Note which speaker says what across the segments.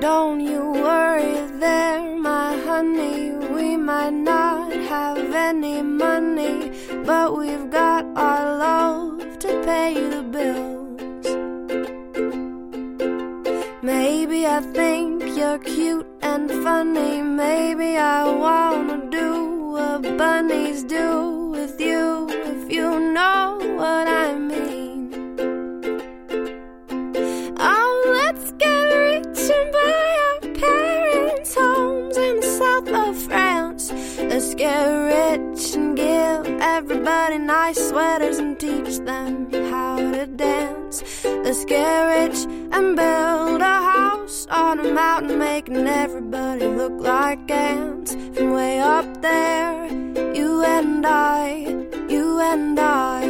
Speaker 1: Don't you worry there, my honey. We might not have any money, but we've got our love to pay the bills. Maybe I think you're cute and funny. Maybe I wanna do what bunnies do with you, if you know what I mean. Oh, let's get rich and buy our parents' homes in the south of France. Let's get rich and give everybody nice sweaters and teach them how to dance. Let's get rich and build a house on a mountain, making everybody look like ants. From way up there, you and I, you and I.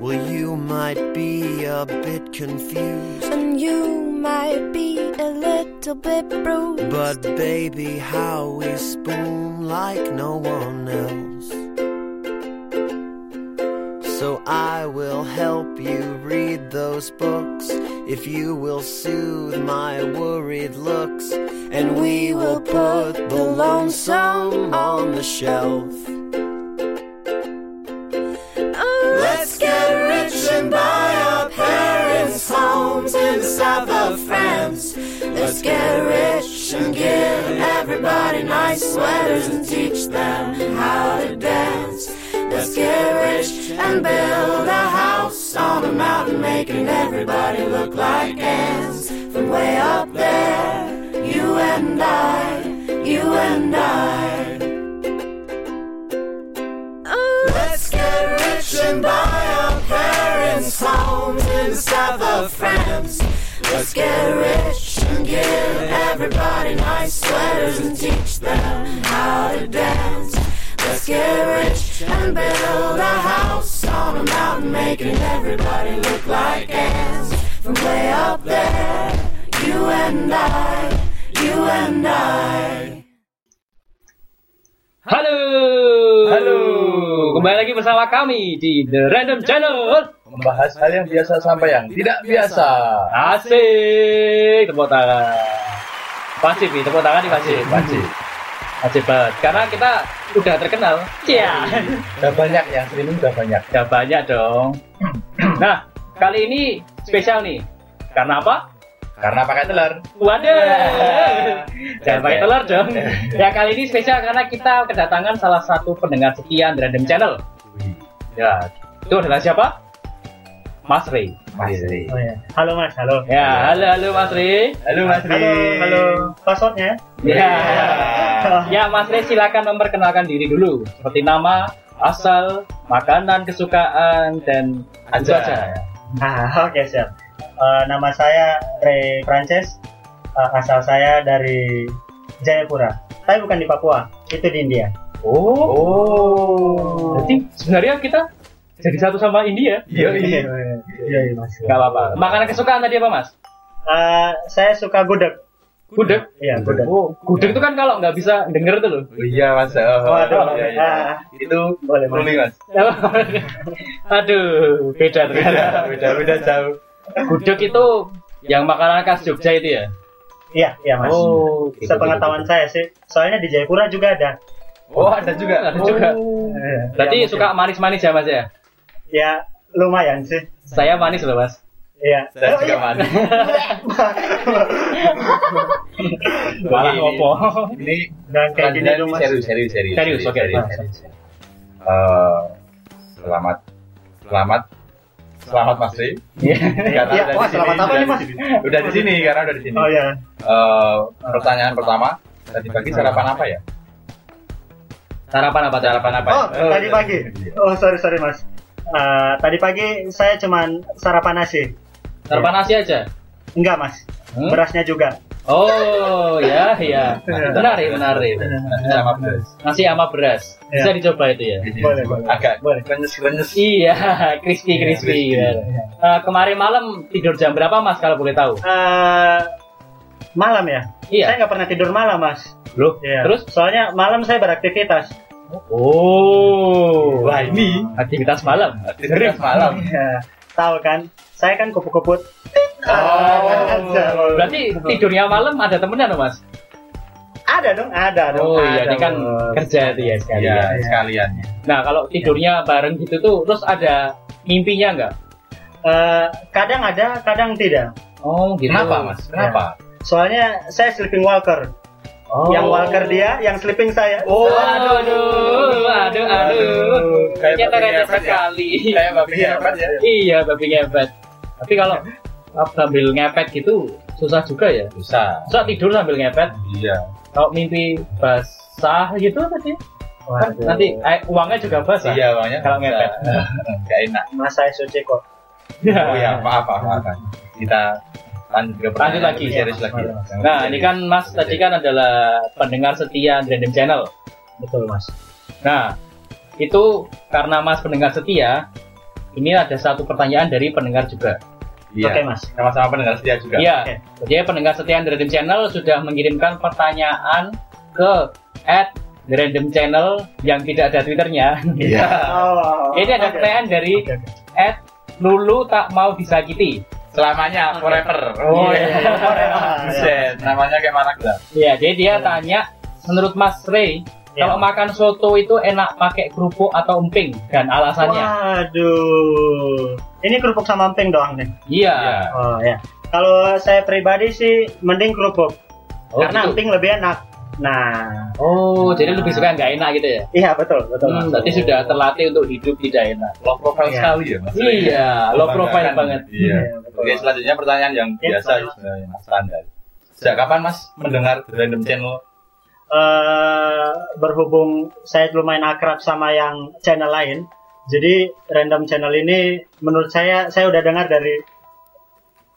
Speaker 2: Well, you might be a bit confused,
Speaker 1: And you might be a little bit bruised.
Speaker 2: but baby, how we spoon like no one else. So I will help you read those books if you will soothe my worried looks, and we will put the lonesome on the shelf.
Speaker 1: Oh,
Speaker 2: Let's get rich and buy our parents' homes in the south of France. Let's get rich and give everybody nice sweaters and teach them how to dance. Let's get rich and build a house on a mountain, making everybody look like ants. From way up there, you and I, you and I. Let's get rich and buy our parents' homes in the south of France. Let's get rich and give everybody nice sweaters and teach them how to dance. Let's get rich and build a house on a mountain, making everybody look like ants. From way up there, you and I, you and I.
Speaker 3: Halo.
Speaker 4: Halo.
Speaker 3: Kembali lagi bersama kami di The Random Channel.
Speaker 4: Membahas hal yang biasa sampai yang tidak biasa.
Speaker 3: Asik. Tepuk tangan. Pasif nih, tepuk tangan nih pasif.
Speaker 4: Wajib.
Speaker 3: Pasif banget. Karena kita udah terkenal. Iya.
Speaker 4: Udah banyak yang streaming udah banyak.
Speaker 3: udah banyak dong. Nah, kali ini spesial nih. Karena apa?
Speaker 4: Karena pakai telur.
Speaker 3: Waduh. Jangan pakai telur dong.
Speaker 4: Eh.
Speaker 3: Ya kali ini spesial karena kita kedatangan salah satu pendengar sekian The Random Channel. Ya, itu adalah siapa? Mas Ray.
Speaker 4: Masri.
Speaker 5: Oh, ya. Halo Mas, halo.
Speaker 3: Ya, halo halo Mas Ray.
Speaker 4: Halo Masri.
Speaker 5: Halo, halo. Passwordnya?
Speaker 3: Ya.
Speaker 5: Ya.
Speaker 3: Ya, Mas Ray silakan memperkenalkan diri dulu seperti nama, asal, makanan kesukaan dan itu
Speaker 4: Aja.
Speaker 3: aja.
Speaker 5: Ah, oke siap. Eh, nama saya Ray Frances. Eh, asal saya dari Jayapura. Tapi bukan di Papua, itu di India.
Speaker 3: Oh.
Speaker 4: Oh.
Speaker 3: Berarti sebenarnya kita jadi satu sama India.
Speaker 4: Yo,
Speaker 5: Iya, iya, iya, Mas.
Speaker 3: Gak apa-apa. Makanan kesukaan tadi apa, Mas?
Speaker 5: Eh, saya suka gudeg.
Speaker 3: Gudeg.
Speaker 5: Iya, gudeg.
Speaker 3: Oh, gudeg itu kan kalau nggak bisa denger tuh loh.
Speaker 4: Iya Mas. Oh,
Speaker 5: Waduh,
Speaker 4: iya, iya.
Speaker 5: ah.
Speaker 4: Itu
Speaker 5: Boleh, Mas.
Speaker 4: booming Mas.
Speaker 3: Aduh, beda
Speaker 4: Beda,
Speaker 3: ternyata.
Speaker 4: beda, beda jauh.
Speaker 3: Gudeg itu yang makanan khas Jogja itu ya?
Speaker 5: Iya, iya, Mas.
Speaker 3: Oh, gitu,
Speaker 5: Sepengetahuan
Speaker 3: gitu,
Speaker 5: saya sih. Soalnya di Jayapura juga ada.
Speaker 4: Oh, ada juga.
Speaker 3: Ada juga.
Speaker 4: Oh.
Speaker 5: Eh,
Speaker 3: Berarti
Speaker 5: ya, mungkin.
Speaker 3: suka manis-manis ya mas ya?
Speaker 5: Ya, lumayan sih.
Speaker 3: Saya manis loh mas.
Speaker 5: Iya.
Speaker 4: Saya
Speaker 5: Oh,
Speaker 4: juga
Speaker 5: iya.
Speaker 4: manis.
Speaker 3: Malah
Speaker 4: Ini-
Speaker 3: ngopo.
Speaker 4: Ini
Speaker 5: Dan kayak gini
Speaker 4: Lanjutan
Speaker 5: dong, Mas.
Speaker 4: serius, serius, serius.
Speaker 3: Serius, oke.
Speaker 4: Eh, selamat, selamat, selamat Mas Ri. Karena
Speaker 5: Iya,
Speaker 4: udah
Speaker 5: wah,
Speaker 4: di
Speaker 5: selamat
Speaker 4: sini, udah
Speaker 5: apa nih,
Speaker 4: di
Speaker 5: Mas?
Speaker 4: sini. Udah di sini karena udah di sini.
Speaker 5: Oh iya.
Speaker 4: Eh, pertanyaan pertama, tadi pagi sarapan apa ya?
Speaker 3: Sarapan apa? Sarapan apa?
Speaker 5: Oh,
Speaker 4: Eh,
Speaker 5: tadi
Speaker 4: eh,
Speaker 5: pagi.
Speaker 4: iya.
Speaker 5: Oh, sorry sorry mas. Eh, tadi pagi saya cuman sarapan nasi.
Speaker 3: Sarapan nasi aja.
Speaker 5: Enggak mas,
Speaker 3: Hmm?
Speaker 5: berasnya juga.
Speaker 3: Oh, ya, ya. Menarik, menarik.
Speaker 4: Nasi sama beras.
Speaker 3: Nasi sama beras. Bisa
Speaker 5: Iya.
Speaker 3: dicoba itu ya?
Speaker 5: Boleh, boleh.
Speaker 4: Agak
Speaker 5: Boleh.
Speaker 4: renyes, renyes.
Speaker 3: Iya, crispy, crispy.
Speaker 4: Crispy.
Speaker 3: Eh, kemarin malam tidur jam berapa mas kalau boleh tahu?
Speaker 5: Eh, malam ya?
Speaker 3: Iya.
Speaker 5: Saya nggak pernah tidur malam mas.
Speaker 3: Loh,
Speaker 5: Iya.
Speaker 3: terus?
Speaker 5: Soalnya malam saya beraktivitas.
Speaker 3: Oh,
Speaker 4: Wah ini
Speaker 3: aktivitas malam.
Speaker 4: aktivitas malam.
Speaker 5: Iya. Tahu kan? Saya kan kupu-kuput.
Speaker 3: Oh, berarti tidurnya malam ada temennya dong mas?
Speaker 5: ada dong, ada dong.
Speaker 3: Oh iya,
Speaker 5: ada
Speaker 3: ini kan
Speaker 5: dong.
Speaker 3: kerja tuh ya sekali.
Speaker 4: Iya,
Speaker 5: Iya.
Speaker 4: sekalian ya.
Speaker 3: Nah kalau tidurnya bareng gitu tuh, terus ada mimpinya nggak?
Speaker 5: Eh, kadang ada, kadang tidak.
Speaker 3: Oh gitu.
Speaker 4: Kenapa mas?
Speaker 5: Iya.
Speaker 4: Kenapa?
Speaker 5: Soalnya saya sleeping walker.
Speaker 3: Oh.
Speaker 5: Yang walker dia, yang sleeping saya.
Speaker 3: Oh, aduh, aduh, aduh, aduh.
Speaker 4: Kayak
Speaker 3: Ternyata
Speaker 4: babi
Speaker 3: receh
Speaker 4: ngepet ya.
Speaker 3: sekali.
Speaker 4: Kayak babi ngepet ya.
Speaker 3: Iya, babi ngepet. Tapi kalau sambil ngepet gitu susah juga ya.
Speaker 4: Bisa.
Speaker 3: Susah tidur sambil ngepet.
Speaker 4: Iya.
Speaker 3: Kalau mimpi basah gitu tadi, kan
Speaker 5: Waduh.
Speaker 3: nanti eh, uangnya juga basah.
Speaker 4: Iya bangnya.
Speaker 3: Kalau ngepet.
Speaker 4: Gak enak.
Speaker 5: Mas saya suci kok.
Speaker 4: Oh iya, maaf, maaf, maaf. Kita lanjut ke pertanyaan
Speaker 3: Lanjut lagi.
Speaker 4: lebih serius lagi.
Speaker 3: Nah, ini kan Mas tadi kan adalah pendengar setia Random Channel.
Speaker 5: Betul mas.
Speaker 3: Nah, itu karena Mas pendengar setia, ini ada satu pertanyaan dari pendengar juga.
Speaker 4: Iya.
Speaker 5: Oke mas.
Speaker 4: Sama-sama pendengar setia juga.
Speaker 5: Oke.
Speaker 3: Iya, jadi pendengar setia Random Channel sudah mengirimkan pertanyaan ke at Random Channel yang tidak ada twitternya.
Speaker 4: Iya.
Speaker 5: Oh,
Speaker 3: ini ada
Speaker 5: oke.
Speaker 3: pertanyaan dari
Speaker 5: Oke, oke.
Speaker 3: at Lulu tak mau disakiti.
Speaker 4: Selamanya forever.
Speaker 3: Oh, iya.
Speaker 5: Iya.
Speaker 4: Buset, namanya kayak mana gula?
Speaker 3: Iya, jadi dia tanya, menurut Mas Ray,
Speaker 5: Iya.
Speaker 3: kalau makan soto itu enak pakai kerupuk atau emping dan alasannya?
Speaker 5: Waduh. Ini kerupuk sama emping doang nih.
Speaker 3: Iya.
Speaker 4: Iya.
Speaker 5: Oh ya. Kalau saya pribadi sih mending kerupuk.
Speaker 3: Oh,
Speaker 5: karena
Speaker 3: gitu.
Speaker 5: emping lebih enak. Nah,
Speaker 3: Oh, jadi lebih suka nggak enak gitu ya?
Speaker 5: iya betul betul.
Speaker 3: Hmm,
Speaker 5: Mas.
Speaker 3: berarti sudah terlatih untuk hidup tidak enak.
Speaker 4: Low profile
Speaker 5: Iya.
Speaker 4: sekali ya mas.
Speaker 3: Iya, low profile banget.
Speaker 4: Iya.
Speaker 5: Iya, betul.
Speaker 4: Oke, selanjutnya pertanyaan yang
Speaker 5: Iya,
Speaker 4: biasa
Speaker 5: betul.
Speaker 4: sebenarnya mas standar. Sejak kapan mas mendengar The Random Channel?
Speaker 5: eh berhubung saya lumayan akrab sama yang channel lain, jadi random channel ini menurut saya saya udah dengar dari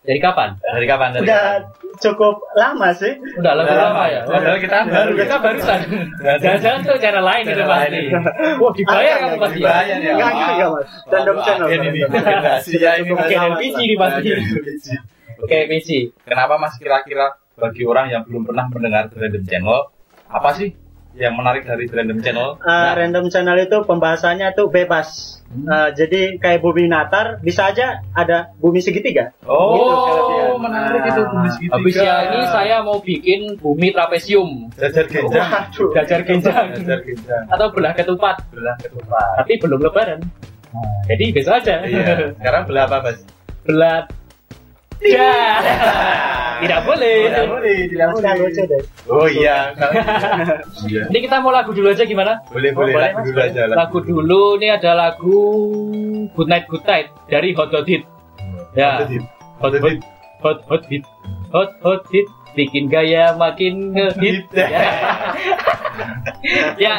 Speaker 3: Dari kapan?
Speaker 4: Dari kapan? Dari
Speaker 5: udah
Speaker 4: kapan?
Speaker 5: cukup lama sih.
Speaker 3: Udah lebih
Speaker 4: Udah
Speaker 3: lama ya?
Speaker 4: Padahal kita baru ya.
Speaker 3: kita barusan. Jangan-jangan tuh cara lain
Speaker 4: Cara
Speaker 3: itu
Speaker 4: lain
Speaker 3: pasti.
Speaker 4: ini.
Speaker 3: Wah, dibayar
Speaker 5: Ah,
Speaker 3: kamu
Speaker 5: enggak,
Speaker 3: pasti.
Speaker 4: dibayar ya.
Speaker 5: Enggak, enggak, enggak, Mas. Random
Speaker 4: Waduh,
Speaker 5: channel,
Speaker 4: akhirnya ini
Speaker 5: random channel.
Speaker 4: rahasia ini
Speaker 5: Cukup
Speaker 4: mas.
Speaker 3: Oke, LPG nih pasti. Oke, PC.
Speaker 4: Kenapa mas kira-kira bagi orang yang belum pernah mendengar The Random Channel, apa sih yang menarik dari The Random Channel?
Speaker 5: Eh,
Speaker 3: Ya.
Speaker 5: random channel itu pembahasannya tuh bebas.
Speaker 3: Hmm.
Speaker 5: Eh, jadi kayak bumi natar bisa aja ada bumi segitiga.
Speaker 3: Gitu,
Speaker 4: Oh,
Speaker 3: kelebihan.
Speaker 4: menarik itu Gitu bumi segitiga.
Speaker 3: Habis ya ini saya mau bikin bumi trapesium,
Speaker 4: jajar genjang.
Speaker 5: Waduh.
Speaker 3: jajar genjang
Speaker 4: Jajar genjang.
Speaker 3: atau belah ketupat,
Speaker 4: Belah ketupat.
Speaker 3: tapi belum lebaran. Jadi gitu besok aja.
Speaker 4: Iya. Sekarang belah apa, Mas?
Speaker 3: Belah. Ya. Tidak boleh.
Speaker 4: Tidak boleh, tidak
Speaker 5: Udah lucu deh.
Speaker 4: Oh iya. Iya.
Speaker 3: Ini kita mau lagu dulu aja gimana?
Speaker 4: Boleh, boleh
Speaker 5: boleh,
Speaker 4: lagu
Speaker 5: Mas,
Speaker 4: dulu aja.
Speaker 3: Lagu dulu ini ada lagu Good Night Good Night dari Hot Hot Hit. Ya. Hot Hot
Speaker 4: Hit.
Speaker 3: Hot Hot Hit. Hot Hot Hit bikin gaya makin ngehit.
Speaker 4: Hit.
Speaker 3: Ya. ya,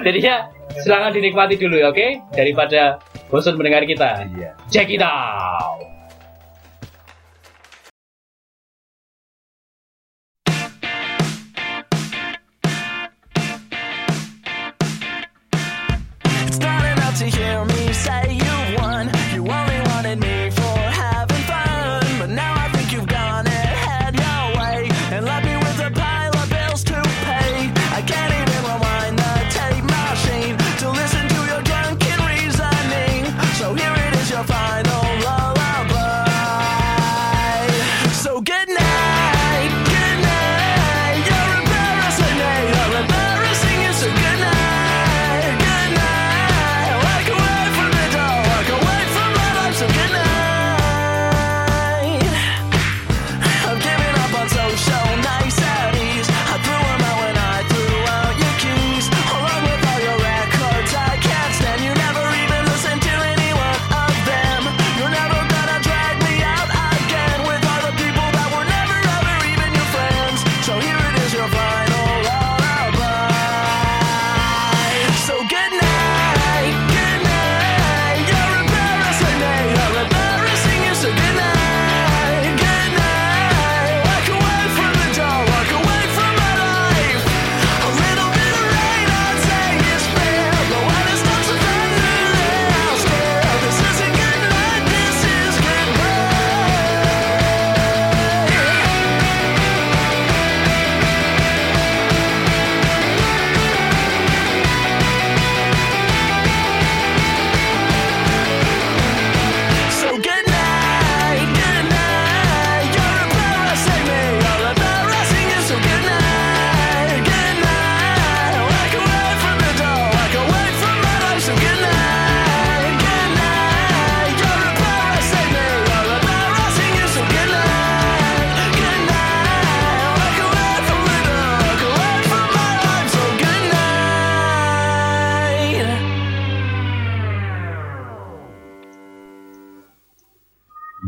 Speaker 3: jadi ya silakan dinikmati dulu ya, oke? Daripada bosan mendengar kita.
Speaker 4: Iya.
Speaker 3: Check it out.
Speaker 6: It's not enough to hear me say you won. You only wanted me for having fun. But now I think you've gone ahead your way and left me with a pile of bills to pay. I can't even rewind the tape machine to listen to your drunken reasoning. So here it is, your final lullaby.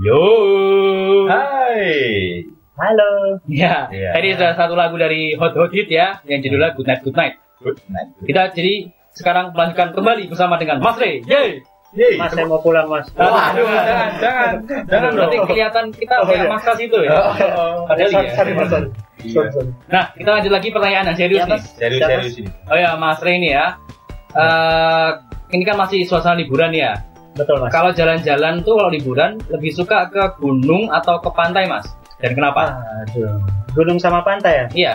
Speaker 3: Yo.
Speaker 4: Hai.
Speaker 5: Halo.
Speaker 3: Ya,
Speaker 4: Iya.
Speaker 3: tadi ada satu lagu dari Hot Hot Hit ya, yang judulnya Good Night Good Night.
Speaker 4: Good night.
Speaker 3: Kita jadi sekarang melanjutkan kembali bersama dengan Mas Rey. Yeay.
Speaker 4: Yeay.
Speaker 5: Mas, saya mau pulang, Mas.
Speaker 4: Waduh, jangan, jangan, jangan dong.
Speaker 3: Berarti kelihatan kita
Speaker 5: Oh,
Speaker 3: kayak
Speaker 5: iya.
Speaker 3: maksa situ ya.
Speaker 4: Oh, oh, oh.
Speaker 3: Padahal
Speaker 5: Sorry,
Speaker 3: iya.
Speaker 5: sorry, Mas. Sorry.
Speaker 4: Iya.
Speaker 5: Sorry, sorry.
Speaker 3: Nah, kita lanjut lagi pertanyaan yang serius
Speaker 5: Iya,
Speaker 3: nih.
Speaker 5: Mas.
Speaker 4: Serius,
Speaker 5: Siapa?
Speaker 4: serius ini.
Speaker 3: Oh ya, Mas Rey ini ya. Eh, ini kan masih suasana liburan ya.
Speaker 5: Betul, Mas.
Speaker 3: Kalau jalan-jalan tuh kalau liburan lebih suka ke gunung atau ke pantai, Mas. Dan kenapa?
Speaker 5: Aduh. Gunung sama pantai ya.
Speaker 3: Iya.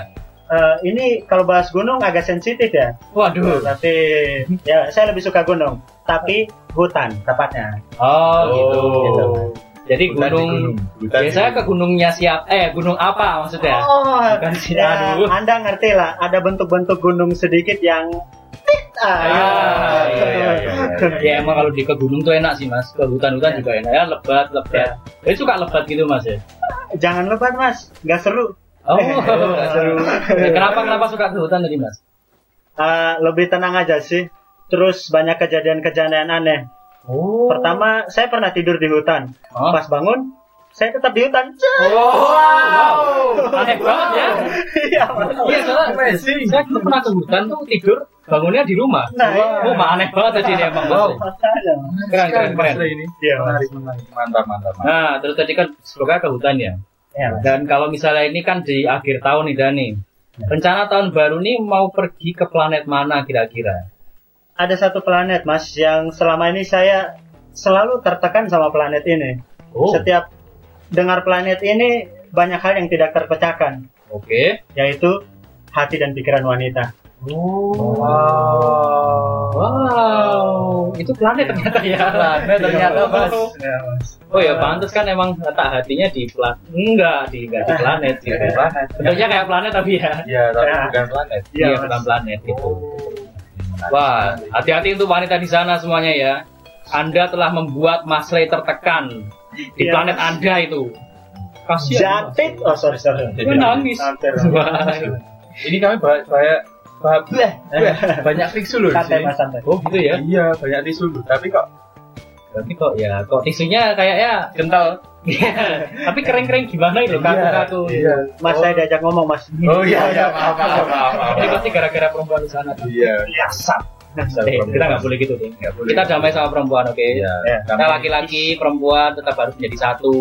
Speaker 5: Eh, ini kalau bahas gunung agak sensitif ya.
Speaker 3: Waduh.
Speaker 5: Tapi ya saya lebih suka gunung. Tapi hutan tepatnya.
Speaker 3: Oh, gitu.
Speaker 4: Oh.
Speaker 5: gitu.
Speaker 3: Jadi
Speaker 4: Hutan di
Speaker 3: gunung,
Speaker 4: Hutan di
Speaker 3: biasanya ke gunungnya siap eh gunung apa maksudnya?
Speaker 5: Oh,
Speaker 3: Bukan sih,
Speaker 5: ya,
Speaker 3: aduh.
Speaker 5: Anda ngerti lah. Ada bentuk-bentuk gunung sedikit yang Ah,
Speaker 3: Ah,
Speaker 5: ya.
Speaker 3: iya, iya,
Speaker 4: iya, iya.
Speaker 3: Ya emang kalau di ke gunung tuh enak sih mas, ke hutan-hutan
Speaker 5: Ya.
Speaker 3: juga enak ya lebat lebat. Jadi suka lebat gitu mas ya.
Speaker 5: Jangan lebat mas, nggak seru.
Speaker 3: Oh,
Speaker 5: nggak seru.
Speaker 3: Ya, kenapa kenapa suka ke hutan tadi mas?
Speaker 5: Eh, lebih tenang aja sih. Terus banyak kejadian-kejadian aneh.
Speaker 3: Oh,
Speaker 5: Pertama, saya pernah tidur di hutan.
Speaker 3: Hah?
Speaker 5: Pas bangun, saya tetap di hutan.
Speaker 3: Oh, aneh banget ya.
Speaker 5: Iya, Mas.
Speaker 3: Iya soalnya saya tuh pernah ke hutan tuh tidur bangunnya di rumah.
Speaker 5: Nah, iya.
Speaker 3: Oh, mah aneh banget tadi ini emang.
Speaker 4: Wow.
Speaker 5: Makanya.
Speaker 3: Keren keren keren.
Speaker 4: ini.
Speaker 5: Iya, Mas.
Speaker 4: Menarik, menarik. Mantap, mantap, mantap.
Speaker 3: Nah, terus tadi kan semoga ke hutan ya.
Speaker 5: Iya, Mas.
Speaker 3: Dan kalau misalnya ini kan di akhir tahun nih Dani.
Speaker 4: Iya.
Speaker 3: Rencana tahun baru nih mau pergi ke planet mana kira-kira?
Speaker 5: Ada satu planet, Mas, yang selama ini saya selalu tertekan sama planet ini.
Speaker 3: Oh, oke.
Speaker 5: Setiap dengar planet ini, banyak hal yang tidak terpecahkan, yaitu hati dan pikiran wanita.
Speaker 4: Oh. Wow.
Speaker 3: Wow, itu planet ternyata ya.
Speaker 4: Iya. Planet ternyata, Mas.
Speaker 5: Iya, Mas.
Speaker 3: Oh ya, pantas kan emang letak hatinya di planet. Enggak, di enggak di
Speaker 4: Nah.
Speaker 3: planet sih.
Speaker 4: Bukan planet.
Speaker 3: Bentuknya kayak planet tapi ya.
Speaker 4: Iya, tapi
Speaker 5: Ya.
Speaker 4: bukan planet.
Speaker 5: Iya,
Speaker 3: Iya,
Speaker 5: Mas.
Speaker 3: bukan planet gitu. Wah, hati-hati untuk wanita di sana semuanya ya. Anda telah membuat Mas Ray tertekan di
Speaker 5: Iya,
Speaker 3: planet
Speaker 5: Mas.
Speaker 3: Anda itu. Kasihan.
Speaker 5: Jatit, oh sorry sorry.
Speaker 3: Gue nangis.
Speaker 5: Hampir.
Speaker 3: Wah.
Speaker 4: Ini kami bahas bahas bahas bleh, bleh. banyak tisu loh di
Speaker 5: Santai
Speaker 4: sini.
Speaker 5: mas santai.
Speaker 3: Oh gitu ya.
Speaker 4: Iya, banyak tisu loh. Tapi kok
Speaker 3: Tapi kok ya, kok tisunya kayaknya
Speaker 4: kental?
Speaker 3: tapi kering-kering gimana itu kaku-kaku.
Speaker 4: Iya.
Speaker 5: Mas saya diajak ngomong mas.
Speaker 4: Oh iya, iya, maaf, maaf, maaf. maaf.
Speaker 3: Ini pasti gara-gara perempuan di sana. tuh.
Speaker 4: Iya.
Speaker 5: Biasa.
Speaker 3: Eh, kita nggak boleh gitu deh.
Speaker 4: Nggak boleh.
Speaker 3: Kita damai sama perempuan, oke?
Speaker 4: Iya.
Speaker 3: Kita laki-laki, perempuan tetap harus menjadi satu.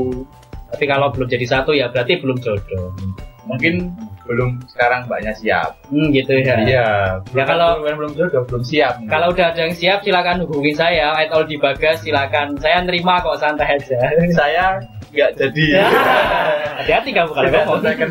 Speaker 3: Tapi kalau belum jadi satu ya berarti belum jodoh.
Speaker 4: Mungkin belum sekarang mbaknya siap.
Speaker 3: Hmm, gitu ya.
Speaker 4: Iya.
Speaker 3: Ya, kalau-
Speaker 4: belum belum jodoh, belum siap.
Speaker 3: Kalau udah ada yang siap silakan hubungi saya at all di bagas silakan. Saya nerima kok santai aja.
Speaker 4: saya nggak jadi.
Speaker 3: Ya. Hati-hati kamu kalau
Speaker 4: Iya. Tidak
Speaker 3: ngomong.
Speaker 4: tertekan.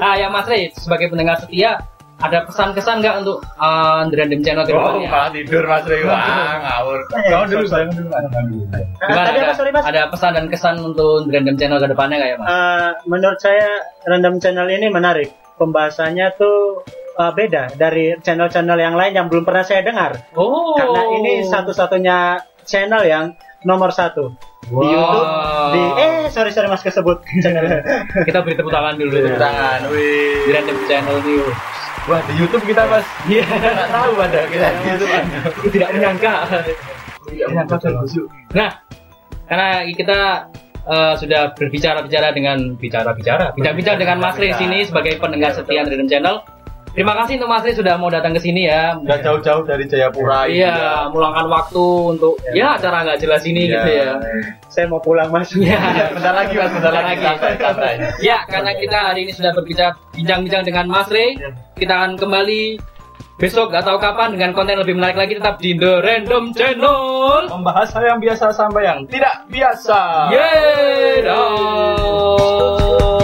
Speaker 3: Ah ya Mas Rey sebagai pendengar setia ada pesan-kesan nggak untuk eh, The Random Channel ke
Speaker 4: Oh,
Speaker 3: depannya?
Speaker 4: malah tidur Mas Rey. Wah, ngawur.
Speaker 3: Eh,
Speaker 4: Kamu dulu, saya dulu. Kamu dulu.
Speaker 3: Gimana,
Speaker 5: tadi
Speaker 3: ada,
Speaker 5: apa, sorry, Mas?
Speaker 3: ada pesan dan kesan untuk The Random Channel ke depannya nggak ya Mas?
Speaker 5: Eh, menurut saya random channel ini menarik. Pembahasannya tuh eh, beda dari channel-channel yang lain yang belum pernah saya dengar.
Speaker 3: Oh.
Speaker 5: Karena ini satu-satunya channel yang nomor satu
Speaker 3: Wow.
Speaker 5: di YouTube. Di eh sorry sorry mas kesebut.
Speaker 3: Kita beri tepuk tangan dulu.
Speaker 4: Tepuk tangan, wih.
Speaker 3: The Random Channel News.
Speaker 4: Wah, di YouTube kita, Mas.
Speaker 3: Iya.
Speaker 4: Nggak tahu ada kita di YouTube. ada.
Speaker 3: Tidak menyangka. Iya,
Speaker 4: Tidak menyangka dan busuk.
Speaker 3: Nah, karena kita eh, sudah berbicara-bicara dengan bicara-bicara, bicara-bicara dengan Mas Rin sini sebagai pendengar setia Random Channel. Terima kasih untuk Mas Rin sudah mau datang ke sini ya.
Speaker 4: Nggak jauh-jauh dari Jayapura.
Speaker 3: Iya, meluangkan waktu untuk ya acara nggak jelas ini gitu ya.
Speaker 5: saya mau pulang mas.
Speaker 3: Iya.
Speaker 4: Iya. Bentar lagi, Mas. Bentar lagi. Santai, santai.
Speaker 3: Ya, karena kita hari ini sudah berbicara bincang-bincang dengan Mas Ray, kita akan kembali besok atau kapan dengan konten lebih menarik lagi tetap di The Random Channel.
Speaker 4: Membahas hal yang biasa sampai yang tidak biasa.
Speaker 3: Yeay! dah.